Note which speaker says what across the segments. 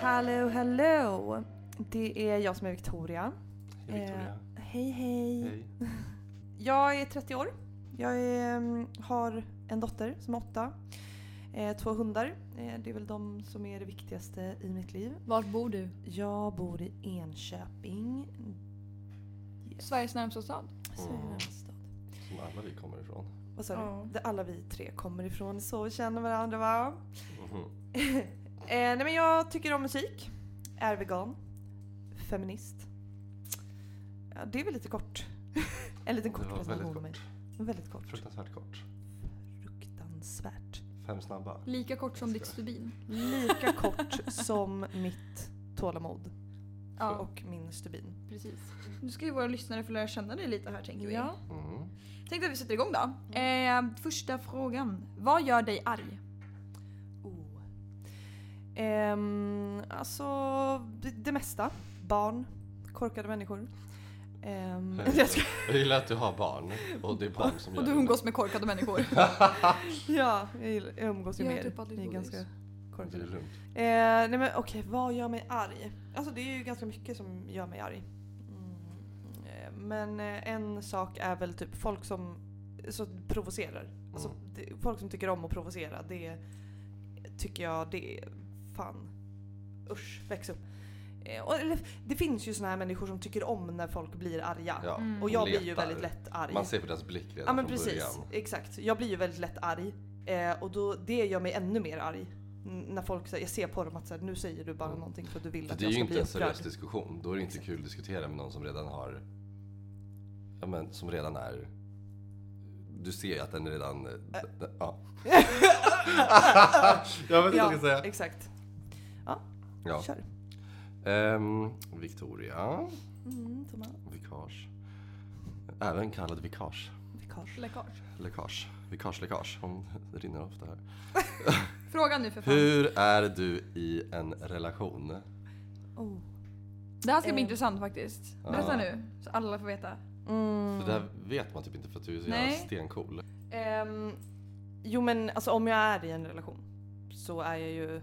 Speaker 1: Hallå, hallå! Det är jag som är Victoria.
Speaker 2: Hej Victoria.
Speaker 1: Hej, hej.
Speaker 2: Eh, Hej.
Speaker 1: Jag är 30 år. Jag är, mm, har en dotter som är åtta. Eh, två hundar. Eh, det är väl de som är det viktigaste i mitt liv.
Speaker 3: Vart bor du?
Speaker 1: Jag bor i Enköping. Yes.
Speaker 3: Sveriges närmsta stad.
Speaker 1: Sveriges närmaste stad.
Speaker 2: Som alla vi kommer ifrån.
Speaker 1: Vad sa du?
Speaker 3: Ja.
Speaker 1: Där alla vi tre kommer ifrån så känner varandra va?
Speaker 2: Mhm.
Speaker 1: Eh, nej men jag tycker om musik. Är vegan. Feminist. Ja, det är väl lite kort. en liten kort
Speaker 2: det var väldigt
Speaker 1: presentation
Speaker 2: kort.
Speaker 1: av mig. Väldigt kort.
Speaker 2: Fruktansvärt kort.
Speaker 1: Fruktansvärt.
Speaker 2: Fem snabba.
Speaker 3: Lika kort som
Speaker 2: Jag
Speaker 3: ditt
Speaker 2: ska-
Speaker 3: stubin.
Speaker 1: Lika kort som mitt tålamod
Speaker 3: Ja,
Speaker 1: och min stubin.
Speaker 3: precis. Nu ska ju våra lyssnare få lära känna dig lite här tänker vi.
Speaker 1: Ja.
Speaker 2: Mm.
Speaker 3: Tänkte att vi sätter igång då. Eh, första frågan. Vad gör dig arg?
Speaker 1: Oh. Ehm, alltså, det, det mesta. Barn. Korkade människor. Ehm, jag ska,
Speaker 2: Jag gillar att du har barn och det är barn som gör
Speaker 3: Och du
Speaker 2: det.
Speaker 3: umgås med korkade människor.
Speaker 1: ja, jag, gillar, jag umgås ju
Speaker 3: Jag
Speaker 1: med
Speaker 3: har
Speaker 1: er.
Speaker 3: typ aldrig
Speaker 1: Ni är
Speaker 3: godis.
Speaker 1: ganska
Speaker 2: Det är
Speaker 1: korkade.
Speaker 2: lugnt.
Speaker 1: Eh, nej men okej, vad gör mig arg? Alltså det är ju ganska mycket som gör mig arg. Mm. eh, Men eh, en sak är väl typ folk som så provocerar. Alltså,
Speaker 2: Mm.
Speaker 1: det, folk som tycker om att provocera, det tycker jag det är fan. Usch, väx upp. Eh, och, eller, det finns ju såna här människor som tycker om när folk blir arga.
Speaker 2: Ja,
Speaker 3: Mm.
Speaker 1: Och
Speaker 2: de
Speaker 1: jag blir ju
Speaker 2: letar.
Speaker 1: väldigt lätt arg.
Speaker 2: Man ser på deras blick redan
Speaker 1: Ja men
Speaker 2: från
Speaker 1: precis,
Speaker 2: början.
Speaker 1: exakt. Jag blir ju väldigt lätt arg. Eh, och då, det gör mig ännu mer arg. N- när folk säger, jag ser på dem att så här, nu säger du bara
Speaker 2: Mm.
Speaker 1: någonting för att du vill
Speaker 2: För
Speaker 1: att
Speaker 2: det är
Speaker 1: jag
Speaker 2: ju
Speaker 1: ska
Speaker 2: inte
Speaker 1: bli
Speaker 2: en seriös
Speaker 1: upprörd.
Speaker 2: diskussion. Då är det inte kul att diskutera med någon som redan har... Ja men som redan är... Du ser ju att den redan... Ja. jag vet inte vad jag ska
Speaker 1: Ja,
Speaker 2: säga.
Speaker 1: exakt.
Speaker 2: Ja.
Speaker 1: Kör.
Speaker 2: Ehm, Victoria.
Speaker 1: Mm, Thomas.
Speaker 2: Vikage. Även kallad vikage.
Speaker 1: Vikage.
Speaker 3: Läckage.
Speaker 2: Läckage. Vikage, läckage. Hon rinner ofta här.
Speaker 3: Frågan nu för fan.
Speaker 2: Hur är du i en relation?
Speaker 1: Oh.
Speaker 3: Det här ska bli
Speaker 1: Eh.
Speaker 3: intressant faktiskt. Berätta
Speaker 2: Ja.
Speaker 3: nu så alla får veta.
Speaker 1: Mm.
Speaker 2: Det där vet man typ inte för att du är så jävla
Speaker 3: Nej.
Speaker 2: stencool.
Speaker 1: Ehm, jo men alltså om jag är i en relation så är jag ju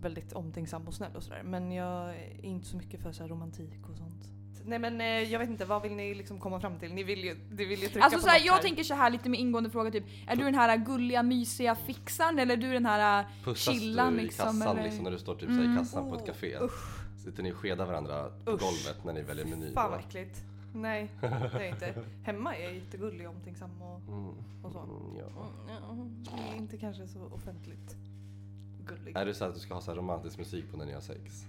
Speaker 1: väldigt omtänksam och snäll och sådär. Men jag är inte så mycket för så här romantik och sånt. Nej men eh, jag vet inte, vad vill ni liksom komma fram till? Ni vill ju, ni vill ju trycka
Speaker 3: Alltså
Speaker 1: på
Speaker 3: så här,
Speaker 1: något
Speaker 3: jag tänker så här lite med ingående fråga typ. Är du den här gulliga mysiga fixaren eller är du den här äh,
Speaker 2: Pussas
Speaker 3: Chillan
Speaker 2: du i
Speaker 3: liksom,
Speaker 2: kassan
Speaker 3: eller?
Speaker 2: liksom när du står typ så här i
Speaker 3: Mm.
Speaker 2: kassan på ett
Speaker 1: Oh,
Speaker 2: café?
Speaker 1: usch.
Speaker 2: Sitter ni och skedar varandra på
Speaker 1: Usch.
Speaker 2: golvet när ni väljer meny?
Speaker 1: Fan vad äckligt. Nej, det är jag inte. Hemma är jag jättegullig och omtänksam och,
Speaker 2: Mm.
Speaker 1: och så.
Speaker 2: Mm, ja.
Speaker 1: Mm, Inte kanske så offentligt gullig.
Speaker 2: Är det så att du ska ha så här romantisk musik på när ni har sex?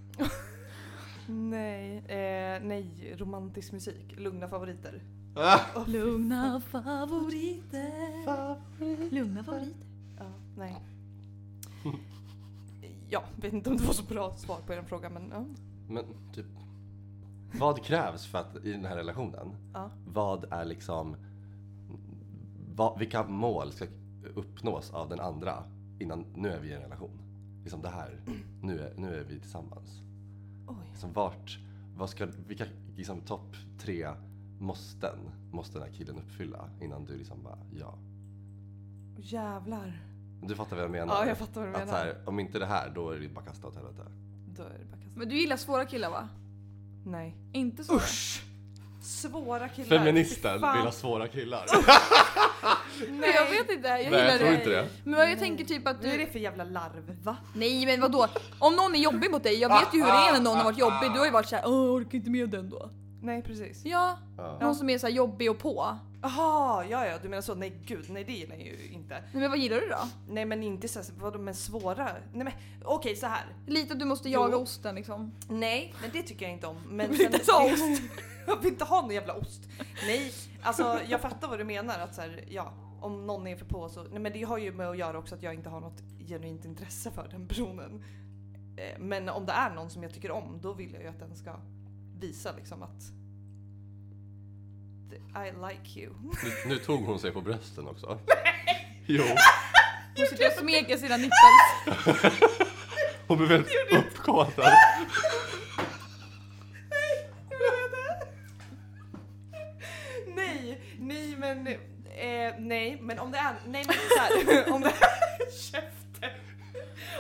Speaker 1: Nej, eh, nej, romantisk musik. Lugna favoriter.
Speaker 3: lugna favoriter? Lugna favoriter.
Speaker 1: Ja, nej. Ja, vet inte om det var så bra svar på er fråga men ja.
Speaker 2: Men typ, vad krävs för att i den här relationen?
Speaker 1: Ja.
Speaker 2: Vad är liksom, vad, vilka mål ska uppnås av den andra innan, nu är vi i en relation? Liksom det här, nu är, nu är vi tillsammans.
Speaker 1: Oj.
Speaker 2: Liksom vart, vad ska, vilka liksom topp tre måsten måste den här killen uppfylla innan du liksom bara, ja.
Speaker 1: Jävlar.
Speaker 2: Du fattar vad jag menar?
Speaker 1: Ja, jag fattar vad du
Speaker 2: Att så
Speaker 1: menar.
Speaker 2: här, om inte det här, då är det bara kasta åt helvete.
Speaker 1: Då är det bara kasta.
Speaker 3: Men du gillar svåra killar va?
Speaker 1: Nej.
Speaker 3: Inte så?
Speaker 1: Usch! Svåra killar.
Speaker 2: Feministen
Speaker 1: Fan.
Speaker 2: vill ha svåra killar.
Speaker 3: Nej. Jag vet inte, jag
Speaker 2: Nej,
Speaker 3: gillar
Speaker 2: jag tror
Speaker 3: det.
Speaker 2: inte det.
Speaker 3: Men vad jag tänker typ att
Speaker 1: Vad är det
Speaker 3: du...
Speaker 1: för jävla larv? Va?
Speaker 3: Nej men vadå? Om någon är jobbig mot dig, jag vet ju hur det är när någon har varit jobbig. Du har ju varit såhär åh jag orkar inte med den då.
Speaker 1: Nej precis.
Speaker 3: Ja,
Speaker 2: Ja.
Speaker 3: någon som är såhär jobbig och på.
Speaker 1: Jaha, ja ja du menar så. Nej gud, nej det gillar jag ju inte.
Speaker 3: Nej, men vad gillar du då?
Speaker 1: Nej men inte så här, vadå men svåra? Nej men okej så här.
Speaker 3: Lite att du måste
Speaker 1: Jo.
Speaker 3: jaga osten liksom.
Speaker 1: Nej, men det tycker jag inte om. Men
Speaker 3: Du vill inte ha ost.
Speaker 1: jag vill inte ha någon jävla ost. Nej, alltså jag fattar vad du menar att så här, ja, om någon är för på så. Nej men det har ju med att göra också att jag inte har något genuint intresse för den personen. Eh, Men om det är någon som jag tycker om, då vill jag ju att den ska visa liksom att I like you.
Speaker 2: Nu, nu tog hon sig på brösten också. Jo,
Speaker 3: Hon sitter och smeker typ sina nipples.
Speaker 2: hon blev väldigt uppkåtad.
Speaker 1: Nej, nej men, eh, nej men om det är, nej men så här, om det är, käften!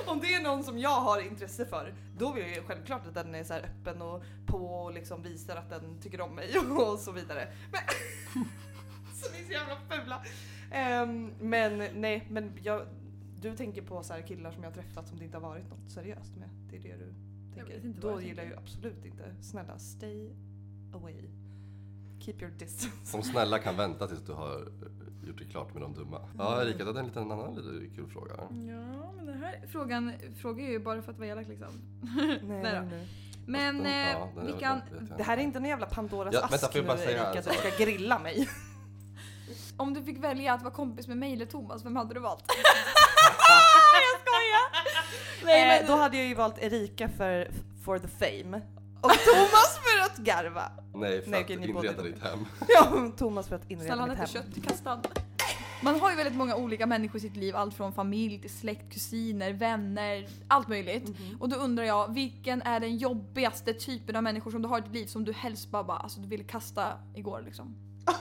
Speaker 1: Om det det är någon som jag har intresse för, då vill jag ju självklart att den är så här öppen och på och liksom visar att den tycker om mig och så vidare. Men så ni är så jävla fula. Ehm, men nej, men jag, du tänker på så här killar som jag har träffat som det inte har varit något seriöst med. Det är det du tänker.
Speaker 3: vet inte
Speaker 1: då
Speaker 3: vad jag
Speaker 1: gillar jag
Speaker 3: tänker.
Speaker 1: ju absolut inte. Snälla, stay away. Keep your distance.
Speaker 2: De snälla kan vänta tills du har gjort det klart med de dumma. Ja, Erika, du hade en liten annan lite kul fråga.
Speaker 3: Ja, men den här frågan frågar jag ju bara för att vara elak liksom.
Speaker 1: Nej,
Speaker 3: Där då.
Speaker 1: nej.
Speaker 3: Men
Speaker 2: Fast den-
Speaker 3: eh,
Speaker 2: Alltså, den-
Speaker 3: vi
Speaker 2: den-
Speaker 3: kan,
Speaker 2: vet jag inte.
Speaker 1: Det här är inte någon jävla Pandoras
Speaker 2: Ja,
Speaker 1: ask
Speaker 2: vänta, får jag
Speaker 1: nu
Speaker 2: bara säga
Speaker 1: Erika,
Speaker 2: en
Speaker 1: som
Speaker 2: sak?
Speaker 1: ska grilla mig.
Speaker 3: om du fick välja att vara kompis med mig eller Thomas, vem hade du valt? jag skojar! Nej,
Speaker 1: Eh,
Speaker 3: men,
Speaker 1: Då hade jag ju valt Erika för for the fame. Och Thomas för att garva.
Speaker 2: Nej, för
Speaker 1: Nej,
Speaker 2: att
Speaker 1: okej, ni
Speaker 2: inreda
Speaker 1: båda-
Speaker 2: ditt hem.
Speaker 1: Ja, Thomas för att
Speaker 3: Snälla
Speaker 1: inreda
Speaker 3: han
Speaker 1: mitt
Speaker 3: heter
Speaker 1: hem.
Speaker 3: köttkastad. Man har ju väldigt många olika människor i sitt liv, allt från familj till släkt, kusiner, vänner, allt möjligt. Och då undrar jag, vilken är den jobbigaste typen av människor som du har i ditt liv som du helst bara, bara alltså du ville kasta igår liksom?
Speaker 2: Hon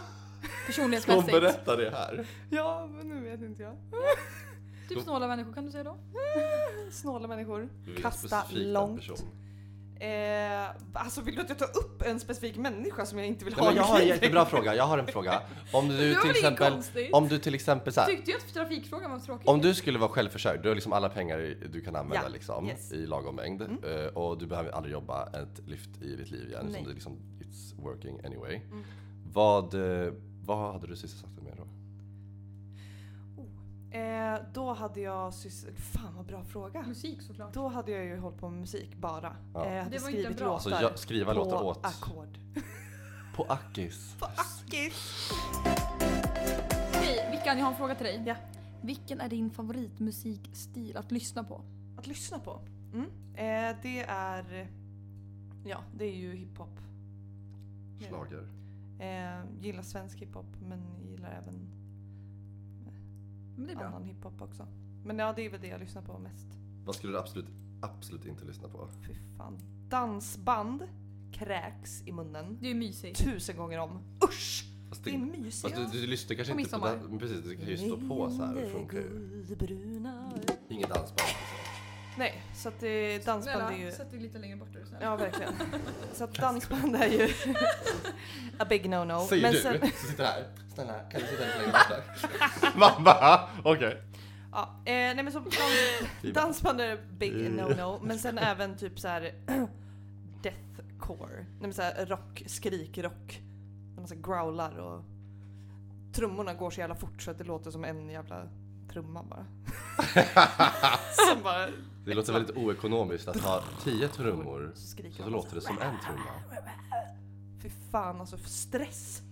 Speaker 3: Personlighetsmässigt.
Speaker 2: berättar det här.
Speaker 1: Ja, men nu vet inte jag.
Speaker 3: Typ snåla människor kan du säga då?
Speaker 1: Snåla människor.
Speaker 2: Du vill
Speaker 1: Kasta
Speaker 2: specifikt en
Speaker 1: långt.
Speaker 2: person.
Speaker 1: Eh, alltså vill du att jag tar upp en specifik människa som jag inte vill
Speaker 2: Nej,
Speaker 1: ha?
Speaker 2: men jag
Speaker 1: i mitt
Speaker 2: har en
Speaker 1: liv?
Speaker 2: jättebra fråga. Jag har en fråga. Om
Speaker 3: Det
Speaker 2: du
Speaker 3: var
Speaker 2: till
Speaker 3: väl inget
Speaker 2: exempel...
Speaker 3: konstigt?
Speaker 2: Om du till exempel så här,
Speaker 3: Tyckte ju att trafikfrågan var tråkig.
Speaker 2: Om du skulle vara självförsörjd, du har liksom alla pengar du kan använda
Speaker 1: Ja,
Speaker 2: liksom,
Speaker 1: yes.
Speaker 2: i lagom mängd.
Speaker 1: Mm.
Speaker 2: Eh, och du behöver aldrig jobba ett lyft i ditt liv igen.
Speaker 1: Nej.
Speaker 2: Som det liksom, it's working anyway.
Speaker 1: Mm.
Speaker 2: Vad, eh, vad hade du sysselsatt dig med då?
Speaker 1: Eh, då hade jag sys- Fan vad bra fråga.
Speaker 3: Musik såklart.
Speaker 1: Då hade jag ju hållit på med musik bara.
Speaker 2: Ja.
Speaker 1: Eh, jag hade
Speaker 3: Det var inte
Speaker 1: skrivit
Speaker 3: bra.
Speaker 2: Alltså
Speaker 1: låtar
Speaker 2: jag, skriva låtar
Speaker 1: på
Speaker 2: åt...
Speaker 1: ackord.
Speaker 2: På Ackis.
Speaker 1: På ackis.
Speaker 3: Okej, Vickan jag har en fråga till dig.
Speaker 1: Ja.
Speaker 3: Vilken är din favoritmusikstil att lyssna på?
Speaker 1: Att lyssna på. Mm. Eh, det är... Ja, det är ju hiphop.
Speaker 2: Slager.
Speaker 1: Eh, gillar svensk hiphop men gillar även
Speaker 3: Men det är bra.
Speaker 1: annan hiphop också. Men ja, det är väl det jag lyssnar på mest.
Speaker 2: Vad skulle du absolut, absolut inte lyssna på?
Speaker 1: Fy fan. Dansband kräks i munnen.
Speaker 3: Det är ju mysigt.
Speaker 1: Tusen gånger om. Usch!
Speaker 2: Fast
Speaker 1: Det är
Speaker 2: det,
Speaker 1: mysigt.
Speaker 2: fast du, du lyssnar kanske
Speaker 3: På
Speaker 2: inte på
Speaker 3: midsommar.
Speaker 2: dans- men Precis, du kan ju stå på så här. Det funkar ju.
Speaker 1: Guldbruna.
Speaker 2: Inget dansband. liksom.
Speaker 1: Nej, så att det, dansband är ju...
Speaker 3: dig lite längre bort är du snäll.
Speaker 1: Ja, verkligen. Så att dansband är ju a big no-no.
Speaker 2: Säger
Speaker 1: Men
Speaker 2: du
Speaker 1: sen,
Speaker 2: som sitter här. Snälla, kan du sitta lite längre bort där? Mamma, okej.
Speaker 1: ja, eh, nej men så dans, dansband är big no-no, men sen även typ så här deathcore. Nej men så här rock, skrikrock. När man så här growlar och trummorna går så jävla fort så att det låter som en jävla trumma bara. Som bara
Speaker 2: Det låter väldigt oekonomiskt att ha tio trummor
Speaker 1: så skriker
Speaker 2: så
Speaker 1: man
Speaker 2: då låter det som en trumma.
Speaker 1: Fy fan alltså, för stress.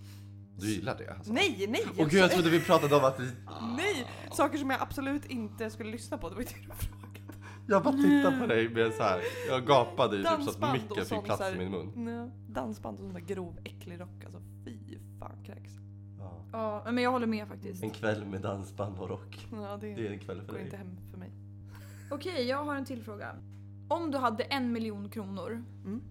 Speaker 2: Du gillar det alltså?
Speaker 1: Nej, nej!
Speaker 2: Åh gud, jag trodde vi pratade om att vi...
Speaker 1: Nej! Saker som jag absolut inte skulle lyssna på. Det var ju det du frågade.
Speaker 2: Jag bara tittar på dig med så här. Jag gapade ju typ så att
Speaker 1: Dansband och
Speaker 2: micken
Speaker 1: sånt
Speaker 2: fick plats
Speaker 1: så här.
Speaker 2: i min mun.
Speaker 1: Nej, dansband och sån där grov äcklig rock alltså. Fy fan kräks.
Speaker 3: Ja, men jag håller med faktiskt.
Speaker 2: En kväll med dansband och rock.
Speaker 1: Ja, det,
Speaker 2: Det är en kväll för
Speaker 1: går inte
Speaker 2: dig.
Speaker 1: hem för mig.
Speaker 3: Okej, jag har en till fråga. Om du hade en miljon kronor,
Speaker 1: Mm.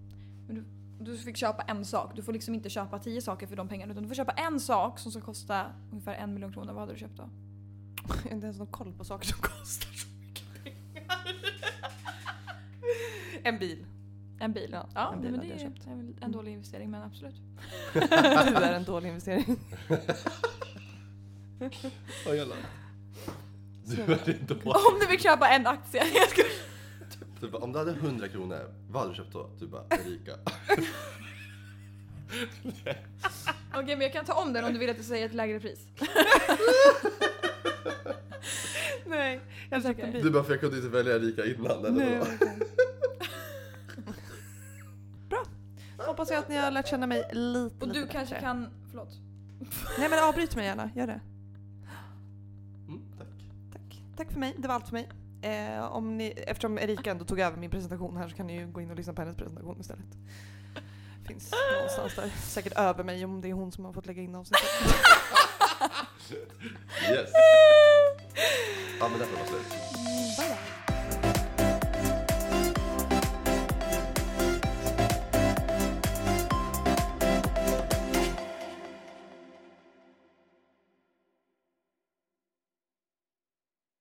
Speaker 3: men du, du fick köpa en sak. Du får liksom inte köpa tio saker för de pengarna utan du får köpa en sak som ska kosta ungefär en miljon kronor. Vad hade du köpt då?
Speaker 1: Jag har inte ens någon koll på saker som kostar så mycket pengar. en bil.
Speaker 3: En bil?
Speaker 1: Ja, en
Speaker 3: nej,
Speaker 1: bil
Speaker 3: men
Speaker 1: hade
Speaker 3: det
Speaker 1: jag
Speaker 3: är
Speaker 1: köpt.
Speaker 3: en, en dålig investering men absolut.
Speaker 1: Tyvärr en dålig investering.
Speaker 2: Åh, jävlar. Du är din dåre.
Speaker 3: Om du fick köpa en aktie. Jag skojar.
Speaker 2: Du bara, Typ, om du hade 100 kronor, vad hade du köpt då? Du bara, Erika.
Speaker 3: Okej men jag kan ta om den om du vill att jag säger ett lägre pris.
Speaker 1: Nej, jag köpte en
Speaker 3: Säker?
Speaker 1: bil.
Speaker 2: Du bara, för jag kunde inte välja Erika innan.
Speaker 1: Nej,
Speaker 2: Eller vad?
Speaker 1: verkligen. Bra. Hoppas jag att ni har lärt känna mig lite,
Speaker 3: Och du
Speaker 1: lite
Speaker 3: kanske
Speaker 1: bättre.
Speaker 3: kan, förlåt.
Speaker 1: Nej men avbryt mig gärna, gör det.
Speaker 2: Mm, tack.
Speaker 1: Tack. Tack för mig, det var allt för mig. Eh, om ni, eftersom Erika ändå tog över min presentation här så kan ni ju gå in och lyssna på hennes presentation istället. Finns någonstans där. Säkert över mig om det är hon som har fått lägga in avsnittet.
Speaker 2: Yes. Ja, men därför var det slut.